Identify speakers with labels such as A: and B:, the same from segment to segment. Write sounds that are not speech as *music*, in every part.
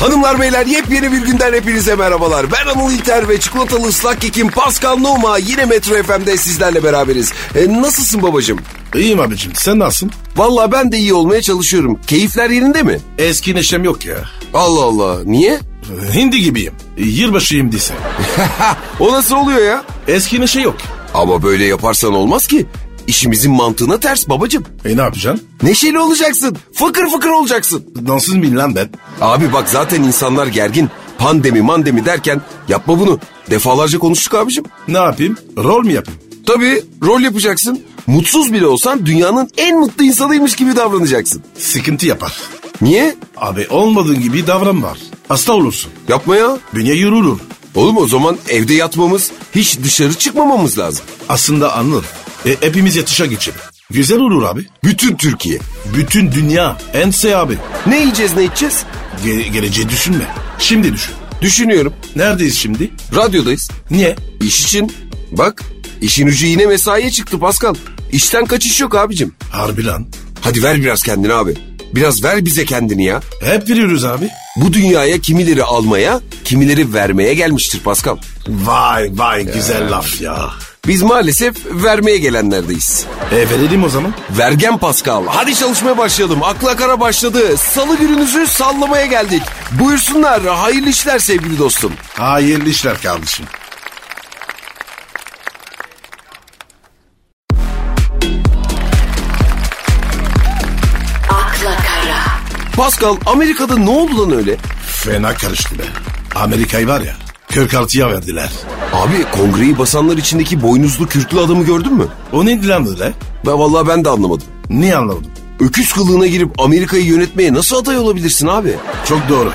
A: Hanımlar beyler yepyeni bir günden hepinize merhabalar. Ben Anıl İlter ve çikolatalı ıslak kekim Pascal Numa yine Metro FM'de sizlerle beraberiz. E, nasılsın babacığım?
B: İyiyim abicim sen nasılsın?
A: Valla ben de iyi olmaya çalışıyorum. Keyifler yerinde mi?
B: Eski neşem yok ya.
A: Allah Allah niye?
B: Hindi gibiyim. Yılbaşı hindisi.
A: o nasıl oluyor ya?
B: Eski neşe yok.
A: Ama böyle yaparsan olmaz ki. İşimizin mantığına ters babacığım.
B: E ne yapacaksın?
A: Neşeli olacaksın. Fıkır fıkır olacaksın.
B: Dansız mıyım lan ben?
A: Abi bak zaten insanlar gergin. Pandemi mandemi derken yapma bunu. Defalarca konuştuk abicim.
B: Ne yapayım? Rol mü yapayım?
A: Tabii rol yapacaksın. Mutsuz bile olsan dünyanın en mutlu insanıymış gibi davranacaksın.
B: Sıkıntı yapar.
A: Niye?
B: Abi olmadığın gibi davran var. Hasta olursun.
A: Yapma ya.
B: Bünye yürürür.
A: Oğlum o zaman evde yatmamız, hiç dışarı çıkmamamız lazım.
B: Aslında anılır. E, hepimiz yatışa geçelim. Güzel olur abi.
A: Bütün Türkiye.
B: Bütün dünya. Ense abi.
A: Ne yiyeceğiz ne içeceğiz?
B: Ge- geleceği düşünme. Şimdi düşün.
A: Düşünüyorum.
B: Neredeyiz şimdi?
A: Radyodayız.
B: Niye?
A: İş için. Bak işin ucu yine mesaiye çıktı Pascal. İşten kaçış yok abicim.
B: Harbi lan.
A: Hadi ver biraz kendini abi. Biraz ver bize kendini ya.
B: Hep veriyoruz abi.
A: Bu dünyaya kimileri almaya, kimileri vermeye gelmiştir Pascal.
B: Vay vay güzel laf ya.
A: Biz maalesef vermeye gelenlerdeyiz.
B: E verelim o zaman.
A: Vergen Pascal. Hadi çalışmaya başlayalım. Akla kara başladı. Salı gününüzü sallamaya geldik. Buyursunlar. Hayırlı işler sevgili dostum.
B: Hayırlı işler kardeşim.
C: akla kara,
A: Pascal Amerika'da ne oldu lan öyle?
B: Fena karıştı be. Amerika'yı var ya 46'ya verdiler.
A: Abi kongreyi basanlar içindeki boynuzlu kürklü adamı gördün mü?
B: O neydi lan öyle?
A: Ben vallahi ben de anlamadım.
B: Niye anlamadım?
A: Öküz kılığına girip Amerika'yı yönetmeye nasıl aday olabilirsin abi?
B: Çok doğru.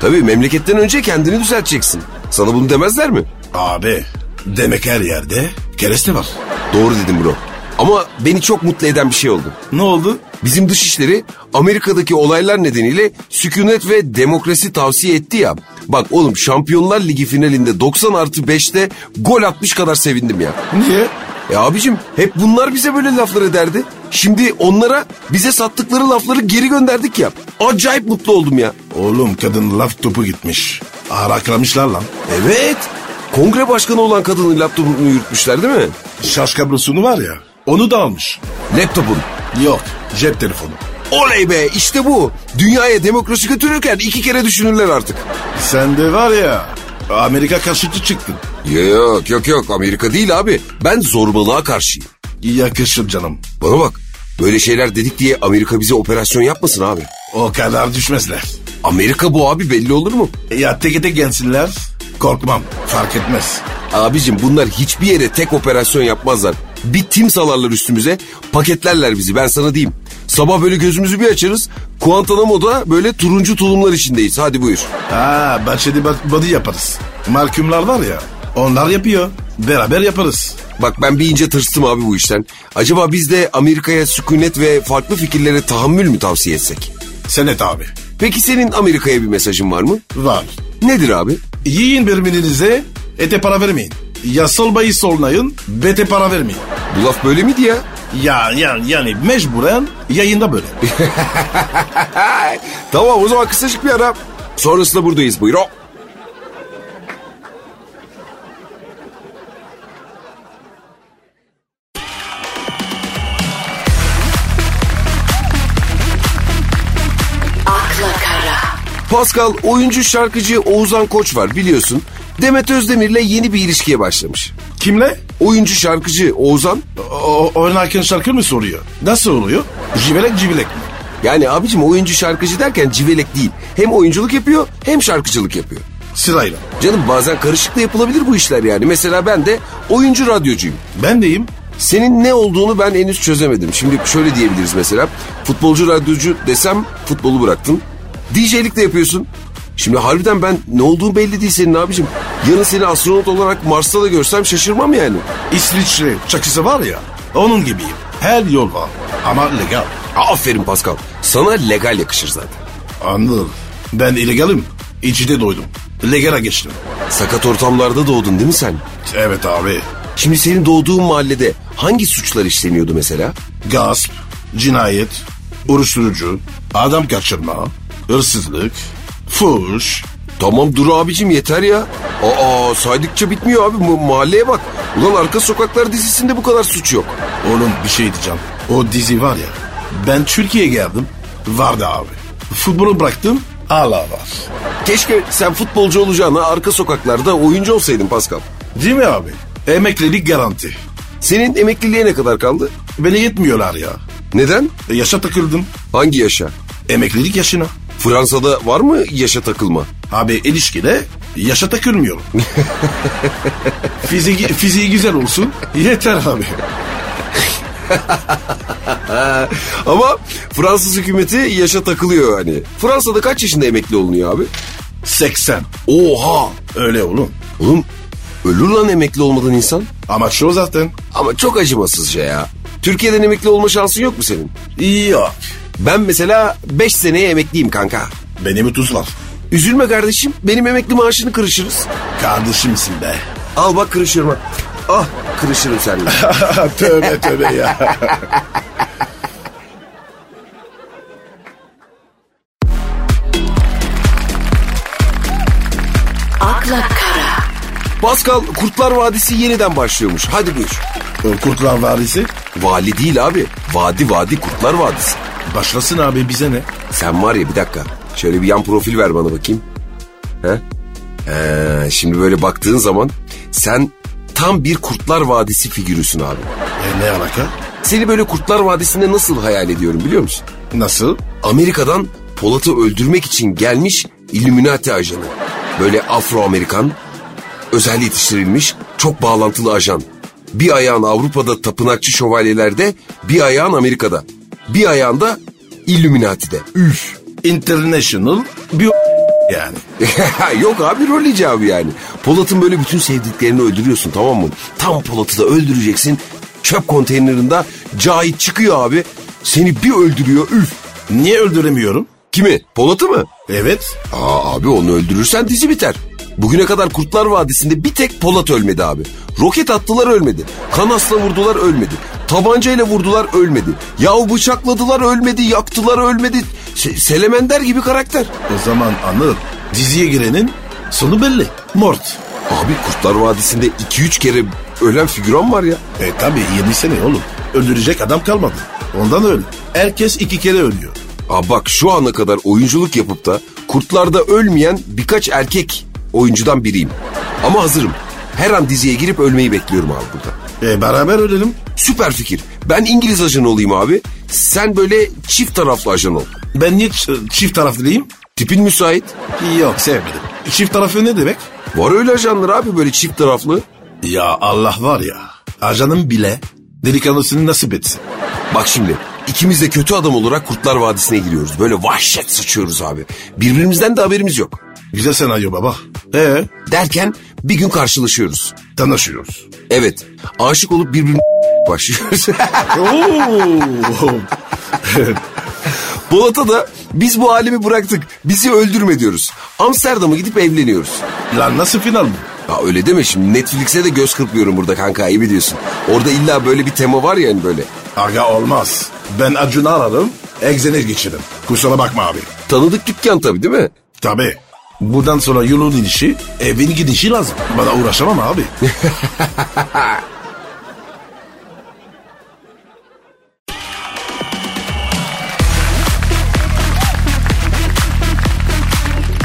A: Tabii memleketten önce kendini düzelteceksin. Sana bunu demezler mi?
B: Abi demek her yerde kereste var.
A: Doğru dedim bro. Ama beni çok mutlu eden bir şey oldu.
B: Ne oldu?
A: Bizim dışişleri Amerika'daki olaylar nedeniyle sükunet ve demokrasi tavsiye etti ya. Bak oğlum Şampiyonlar Ligi finalinde 90 artı 5'te gol atmış kadar sevindim ya.
B: Niye?
A: E abicim hep bunlar bize böyle laflar ederdi. Şimdi onlara bize sattıkları lafları geri gönderdik ya. Acayip mutlu oldum ya.
B: Oğlum kadın laf topu gitmiş. Araklamışlar lan.
A: Evet. Kongre başkanı olan kadının laptopunu yürütmüşler değil mi?
B: Şaşkabrosunu var ya onu da almış.
A: Laptopun.
B: Yok cep telefonu.
A: Oley be işte bu. Dünyaya demokrasi götürürken iki kere düşünürler artık.
B: Sen de var ya Amerika karşıtı çıktın.
A: Yok yok yok Amerika değil abi. Ben zorbalığa karşıyım.
B: Yakışır canım.
A: Bana bak böyle şeyler dedik diye Amerika bize operasyon yapmasın abi.
B: O kadar düşmezler.
A: Amerika bu abi belli olur mu?
B: E, Ya teke tek gelsinler korkmam fark etmez.
A: Abicim bunlar hiçbir yere tek operasyon yapmazlar. Bir tim salarlar üstümüze paketlerler bizi ben sana diyeyim. Sabah böyle gözümüzü bir açarız. Guantanamo'da böyle turuncu tulumlar içindeyiz. Hadi buyur.
B: Ha bahçede ba- body yaparız. Markumlar var ya onlar yapıyor. Beraber yaparız.
A: Bak ben bir ince tırstım abi bu işten. Acaba biz de Amerika'ya sükunet ve farklı fikirlere tahammül mü tavsiye etsek?
B: Senet abi.
A: Peki senin Amerika'ya bir mesajın var mı?
B: Var.
A: Nedir abi?
B: Yiyin birbirinize ete para vermeyin. Ya solbayı sollayın bete para vermeyin.
A: Bu laf böyle miydi ya?
B: Ya, ya yani mecburen yayında böyle.
A: Tamam o zaman kısacık bir ara. Sonrasında buradayız buyur. Hop.
C: akla kara,
A: Pascal oyuncu şarkıcı Oğuzhan Koç var biliyorsun. Demet Özdemir'le yeni bir ilişkiye başlamış.
B: Kimle?
A: Oyuncu şarkıcı Oğuzhan
B: O, oynarken şarkı mı soruyor? Nasıl oluyor? Civelek civelek mi?
A: yani abicim oyuncu şarkıcı derken civelek değil. Hem oyunculuk yapıyor hem şarkıcılık yapıyor.
B: Sırayla.
A: Canım bazen karışık da yapılabilir bu işler yani. Mesela ben de oyuncu radyocuyum.
B: Ben deyim.
A: Senin ne olduğunu ben henüz çözemedim. Şimdi şöyle diyebiliriz mesela. Futbolcu radyocu desem futbolu bıraktın. DJ'lik de yapıyorsun. Şimdi harbiden ben ne olduğun belli değil senin abicim. Yarın seni astronot olarak Mars'ta da görsem şaşırmam yani.
B: İsviçre çakısı var ya onun gibiyim. Her yol var ama legal.
A: Aferin Pascal. Sana legal yakışır zaten.
B: Anladım. Ben illegalim. İçide doydum. Legala geçtim.
A: Sakat ortamlarda doğdun değil mi sen?
B: Evet abi.
A: Şimdi senin doğduğun mahallede hangi suçlar işleniyordu mesela?
B: Gasp, cinayet, uyuşturucu, adam kaçırma, hırsızlık, Fuş.
A: Tamam dur abicim yeter ya. Aa saydıkça bitmiyor abi ma- mahalleye bak. Ulan Arka Sokaklar dizisinde bu kadar suç yok.
B: Oğlum bir şey diyeceğim. O dizi var ya. Ben Türkiye'ye geldim. Vardı abi. Futbolu bıraktım. Allah var.
A: Keşke sen futbolcu olacağına Arka Sokaklar'da oyuncu olsaydın Pascal.
B: Değil mi abi? Emeklilik garanti.
A: Senin emekliliğe ne kadar kaldı?
B: Beni yetmiyorlar ya.
A: Neden?
B: E, yaşa takıldım.
A: Hangi yaşa?
B: Emeklilik yaşına.
A: Fransa'da var mı yaşa takılma?
B: Abi ilişkide yaşa takılmıyorum. fiziği, fiziği güzel olsun. Yeter abi.
A: Ama Fransız hükümeti yaşa takılıyor hani. Fransa'da kaç yaşında emekli olunuyor abi?
B: 80.
A: Oha!
B: Öyle oğlum.
A: Oğlum ölür lan emekli olmadan insan.
B: Amaç o zaten.
A: Ama çok acımasızca ya. Türkiye'den emekli olma şansın yok mu senin?
B: Yok.
A: Ben mesela 5 seneye emekliyim kanka.
B: Benim tuzlar.
A: Üzülme kardeşim benim emekli maaşını kırışırız.
B: Kardeşimsin be. *laughs*
A: Al bak kırışırım ha. Ah kırışırım seninle.
B: tövbe tövbe ya.
C: akla kara,
A: Pascal Kurtlar Vadisi yeniden başlıyormuş. Hadi buyur.
B: O Kurtlar Vadisi
A: Vali değil abi. Vadi Vadi Kurtlar Vadisi.
B: başlasın abi bize ne?
A: Sen var ya bir dakika. Şöyle bir yan profil ver bana bakayım. He? Ee, şimdi böyle baktığın zaman sen tam bir Kurtlar Vadisi figürüsün abi.
B: E, ne alaka?
A: Seni böyle Kurtlar Vadisi'nde nasıl hayal ediyorum biliyor musun?
B: Nasıl?
A: Amerika'dan Polat'ı öldürmek için gelmiş Illuminati ajanı. Böyle Afro-Amerikan, özel yetiştirilmiş, çok bağlantılı ajan. Bir ayağın Avrupa'da tapınakçı şövalyelerde, bir ayağın Amerika'da. Bir ayağın da Illuminati'de. *laughs*
B: Üf. International bir yani.
A: Yok abi rol icabı yani. Polat'ın böyle bütün sevdiklerini öldürüyorsun tamam mı? Tam Polat'ı da öldüreceksin. Çöp konteynerinde Cahit çıkıyor abi. Seni bir öldürüyor üf.
B: Niye öldüremiyorum?
A: Kimi? Polat'ı mı?
B: Evet.
A: Aa abi onu öldürürsen dizi biter. Bugüne kadar Kurtlar Vadisi'nde bir tek Polat ölmedi abi. Roket attılar ölmedi. Kanasla vurdular ölmedi. Tabancayla vurdular ölmedi. Yahu bıçakladılar ölmedi. Yaktılar ölmedi. Se- Selemender gibi karakter.
B: O zaman anladım. Diziye girenin sonu belli. Mort.
A: Abi Kurtlar Vadisi'nde 2-3 kere ölen figüran var ya.
B: E tabi 20 sene oğlum. Öldürecek adam kalmadı. Ondan öyle. Herkes iki kere ölüyor.
A: Aa bak şu ana kadar oyunculuk yapıp da Kurtlar'da ölmeyen birkaç erkek oyuncudan biriyim. Ama hazırım. Her an diziye girip ölmeyi bekliyorum abi burada.
B: E beraber ölelim.
A: Süper fikir. Ben İngiliz ajanı olayım abi. Sen böyle çift taraflı ajan ol.
B: Ben niye ç- çift taraflıyım?
A: Tipin müsait.
B: Yok sevmedim. Çift tarafı ne demek?
A: Var öyle ajanlar abi böyle çift taraflı.
B: Ya Allah var ya. Ajanım bile delikanlısını nasip etsin.
A: Bak şimdi ikimiz de kötü adam olarak Kurtlar Vadisi'ne giriyoruz. Böyle vahşet sıçıyoruz abi. Birbirimizden de haberimiz yok.
B: Güzel senaryo baba. Ee,
A: Derken bir gün karşılaşıyoruz.
B: tanışıyoruz.
A: Evet aşık olup birbirimize *laughs* başlıyoruz. *laughs*
B: Oo.
A: Polat'a da biz bu alemi bıraktık bizi öldürme diyoruz. Amsterdam'a gidip evleniyoruz.
B: Lan nasıl final bu?
A: Ya öyle deme şimdi Netflix'e de göz kırpıyorum burada kanka iyi biliyorsun. Orada illa böyle bir tema var ya hani böyle.
B: Aga olmaz. Ben Acun'u ararım, egzene geçirim. Kusura bakma abi.
A: Tanıdık dükkan tabii değil mi?
B: Tabii. Buradan sonra yolun inişi, evin gidişi lazım. Bana uğraşamam abi.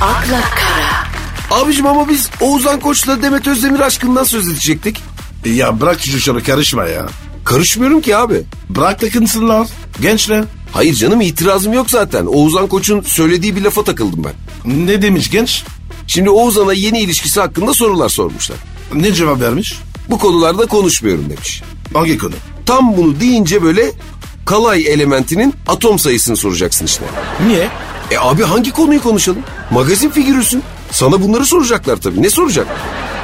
C: akla kara,
A: Abicim ama biz Oğuzhan Koç'la Demet Özdemir aşkından söz edecektik.
B: ya bırak çocukları karışma ya.
A: Karışmıyorum ki abi.
B: Bırak takınsınlar. Gençler.
A: Hayır canım itirazım yok zaten. Oğuzhan Koç'un söylediği bir lafa takıldım ben.
B: Ne demiş genç?
A: Şimdi Oğuzhan'a yeni ilişkisi hakkında sorular sormuşlar.
B: Ne cevap vermiş?
A: Bu konularda konuşmuyorum demiş.
B: Hangi konu?
A: Tam bunu deyince böyle kalay elementinin atom sayısını soracaksın işte.
B: Niye?
A: E abi hangi konuyu konuşalım? Magazin figürüsün. Sana bunları soracaklar tabii. Ne soracak?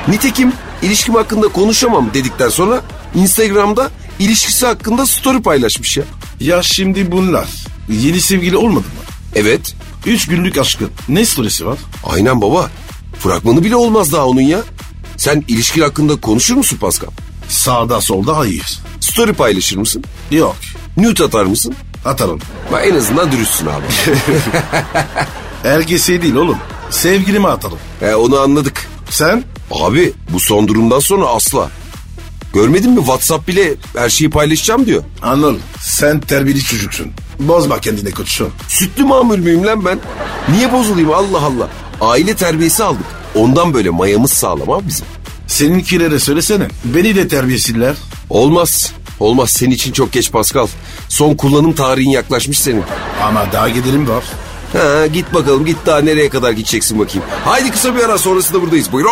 A: Nitekim ilişkim hakkında konuşamam dedikten sonra Instagram'da ilişkisi hakkında story paylaşmış ya.
B: Ya şimdi bunlar. Yeni sevgili olmadı mı?
A: Evet.
B: Üç günlük aşkın. Ne süresi var?
A: Aynen baba. Fragmanı bile olmaz daha onun ya. Sen ilişkin hakkında konuşur musun Pascal?
B: Sağda solda hayır.
A: Story paylaşır mısın?
B: Yok.
A: Nude atar mısın?
B: Atarım.
A: Bak en azından dürüstsün abi.
B: Erkesi değil oğlum. Sevgilime atalım.
A: He, E, onu anladık.
B: Sen?
A: Abi bu son durumdan sonra asla. Görmedin mi WhatsApp bile her şeyi paylaşacağım diyor.
B: Anladım. Sen terbiyeli çocuksun. Bozma kendine koçum.
A: Sütlü mamul müyüm lan ben? Niye bozulayım Allah Allah. Aile terbiyesi aldık. Ondan böyle mayamız sağlam abi bizim.
B: Seninkilere söylesene. Beni de terbiyesizler.
A: Olmaz. Olmaz senin için çok geç Pascal. Son kullanım tarihin yaklaşmış senin.
B: Ama daha gidelim var.
A: Ha, git bakalım git daha nereye kadar gideceksin bakayım. Haydi kısa bir ara sonrasında buradayız. Buyurun.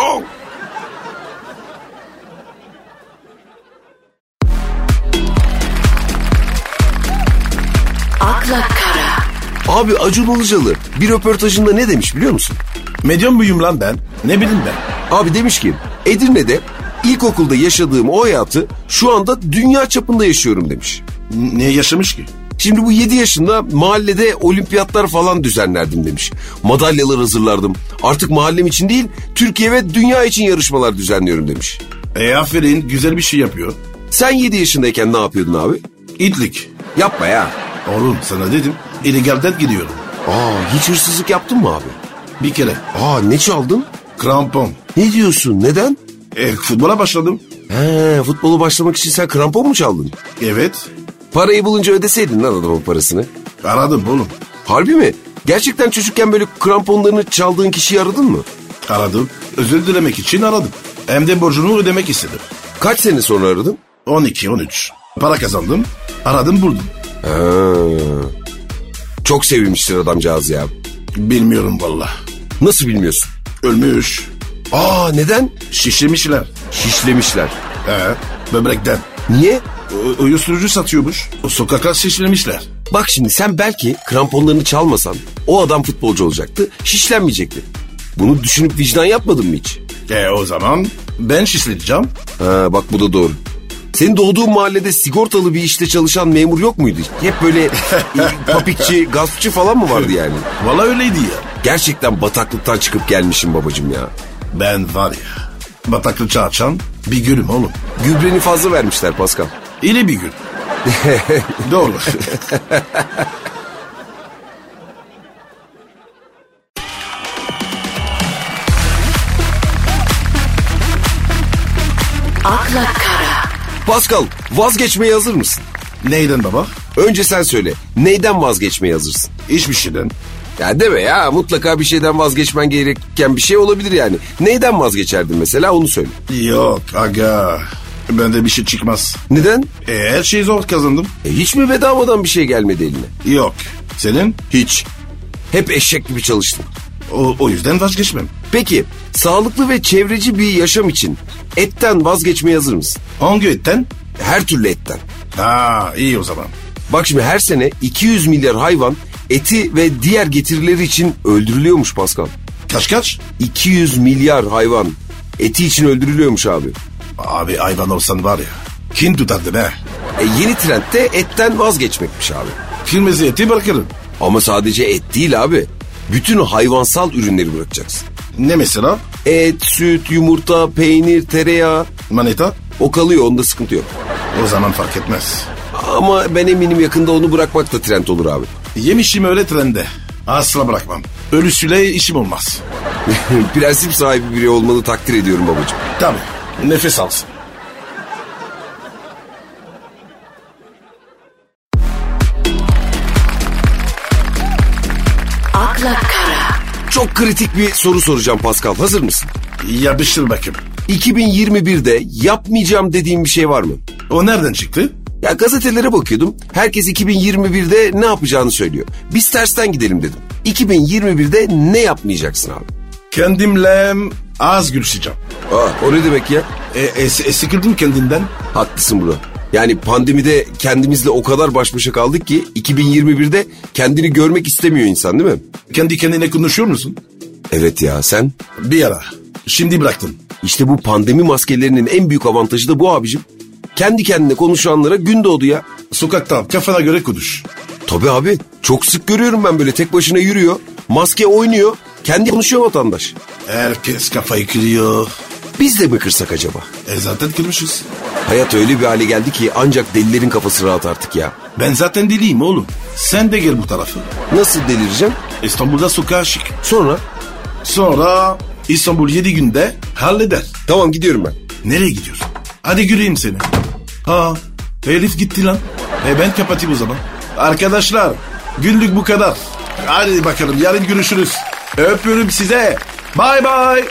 C: akla kara,
A: Abi Acun Ilıcalı bir röportajında ne demiş biliyor musun?
B: Medyon muyum lan ben? Ne bileyim ben?
A: Abi demiş ki Edirne'de ilkokulda yaşadığım o hayatı şu anda dünya çapında yaşıyorum demiş.
B: N- Ne yaşamış ki?
A: Şimdi bu 7 yaşında mahallede olimpiyatlar falan düzenlerdim demiş. Madalyalar hazırlardım. Artık mahallem için değil Türkiye ve dünya için yarışmalar düzenliyorum demiş.
B: E aferin güzel bir şey yapıyor.
A: Sen 7 yaşındayken ne yapıyordun abi?
B: İtlik.
A: Yapma ya.
B: Oğlum sana dedim. İllegalden gidiyorum.
A: Aa hiç hırsızlık yaptın mı abi?
B: Bir kere.
A: Aa ne çaldın?
B: Krampon.
A: Ne diyorsun neden?
B: E, futbola başladım.
A: He futbolu başlamak için sen krampon mu çaldın?
B: Evet.
A: Parayı bulunca ödeseydin lan adamın parasını.
B: Aradım oğlum.
A: Harbi mi? Gerçekten çocukken böyle kramponlarını çaldığın kişiyi aradın mı?
B: Aradım. Özür dilemek için aradım. Hem de borcunu ödemek istedim.
A: Kaç sene sonra aradın?
B: 12-13. Para kazandım. Aradım buldum.
A: Ha. Çok sevinmiştir adamcağız ya.
B: Bilmiyorum valla.
A: Nasıl bilmiyorsun?
B: Ölmüş.
A: Aa neden?
B: Şişirmişler.
A: Şişlemişler.
B: He. Böbrekten.
A: Niye?
B: U- uyuşturucu satıyormuş. O sokaka şişirmişler.
A: Bak şimdi sen belki kramponlarını çalmasan o adam futbolcu olacaktı, şişlenmeyecekti. Bunu düşünüp vicdan yapmadın mı hiç?
B: E o zaman ben şişleyeceğim.
A: Ha bak bu da doğru. Senin doğduğun mahallede sigortalı bir işte çalışan memur yok muydu? Hep *laughs* böyle e, papikçi, gaspçı falan mı vardı yani?
B: Valla öyleydi ya.
A: Gerçekten bataklıktan çıkıp gelmişim babacım ya.
B: Ben var ya. Bataklıca açan bir gülüm oğlum.
A: Gübreni fazla vermişler Pascal.
B: İri bir gül. Doğru.
C: akla kara,
A: Pascal vazgeçmeye hazır mısın?
B: Neyden baba?
A: Önce sen söyle. Neyden vazgeçmeye hazırsın?
B: Hiçbir şeyden.
A: Ya deme ya mutlaka bir şeyden vazgeçmen gereken bir şey olabilir yani. Neyden vazgeçerdin mesela onu söyle.
B: Yok aga. Bende bir şey çıkmaz.
A: Neden?
B: E, her şeyi zor kazandım.
A: E, hiç mi bedavadan bir şey gelmedi eline?
B: Yok. Senin?
A: Hiç. Hep eşek gibi çalıştın.
B: O, o yüzden vazgeçmem.
A: Peki sağlıklı ve çevreci bir yaşam için etten vazgeçmeye hazır mısın?
B: Hangi etten?
A: Her türlü etten.
B: Ha iyi o zaman.
A: Bak şimdi her sene 200 milyar hayvan eti ve diğer getirileri için öldürülüyormuş Pascal.
B: Kaç kaç?
A: 200 milyar hayvan eti için öldürülüyormuş abi.
B: Abi hayvan olsan var ya. Kim tutardı be?
A: E, yeni trend de etten vazgeçmekmiş abi.
B: Kırmızı eti bırakırım.
A: Ama sadece et değil abi. Bütün hayvansal ürünleri bırakacaksın.
B: Ne mesela?
A: Et, süt, yumurta, peynir, tereyağı
B: Manita?
A: o kalıyor onda sıkıntı yok.
B: O zaman fark etmez.
A: Ama ben eminim yakında onu bırakmak da trend olur abi. *laughs*
B: Yemişim öyle trende. Asla bırakmam. Ölüsüyle işim olmaz.
A: Prensip sahibi biri olmanı takdir ediyorum babacığım.
B: Tabii. Nefes alsın.
C: akla kara,
A: Çok kritik bir soru soracağım Pascal. Hazır mısın?
B: Yapıştır bakayım.
A: 2021'de yapmayacağım dediğim bir şey var mı?
B: O nereden çıktı?
A: Ya gazetelere bakıyordum. Herkes 2021'de ne yapacağını söylüyor. Biz tersten gidelim dedim. 2021'de ne yapmayacaksın abi?
B: Kendimle az gülüşeceğim.
A: Aa, Ah, o ne demek ya?
B: E, e, e, sıkıldım kendimden.
A: Haklısın bro. Yani pandemide kendimizle o kadar baş başa kaldık ki 2021'de kendini görmek istemiyor insan değil mi?
B: Kendi kendine konuşuyor musun?
A: Evet ya sen.
B: Bir ara. Şimdi bıraktım.
A: İşte bu pandemi maskelerinin en büyük avantajı da bu abicim. Kendi kendine konuşanlara gün doğdu ya.
B: Sokakta kafana göre konuş.
A: Tabii abi çok sık görüyorum ben böyle tek başına yürüyor. Maske oynuyor. Kendi konuşuyor vatandaş.
B: Herkes kafayı kırıyor.
A: Biz de mi kırsak acaba?
B: E zaten kırmışız.
A: Hayat öyle bir hale geldi ki ancak delilerin kafası rahat artık ya.
B: Ben zaten deliyim oğlum. Sen de gel bu tarafa.
A: Nasıl delireceğim?
B: İstanbul'da sokağa şık.
A: Sonra
B: Sonra İstanbul 7 günde halleder.
A: Tamam gidiyorum ben.
B: Nereye gidiyorsun? Hadi göreyim seni. Ha, Elif gitti lan. E ben kapatayım o zaman. Arkadaşlar, günlük bu kadar. Hadi bakalım yarın görüşürüz. Öpüyorum size. Bay bay.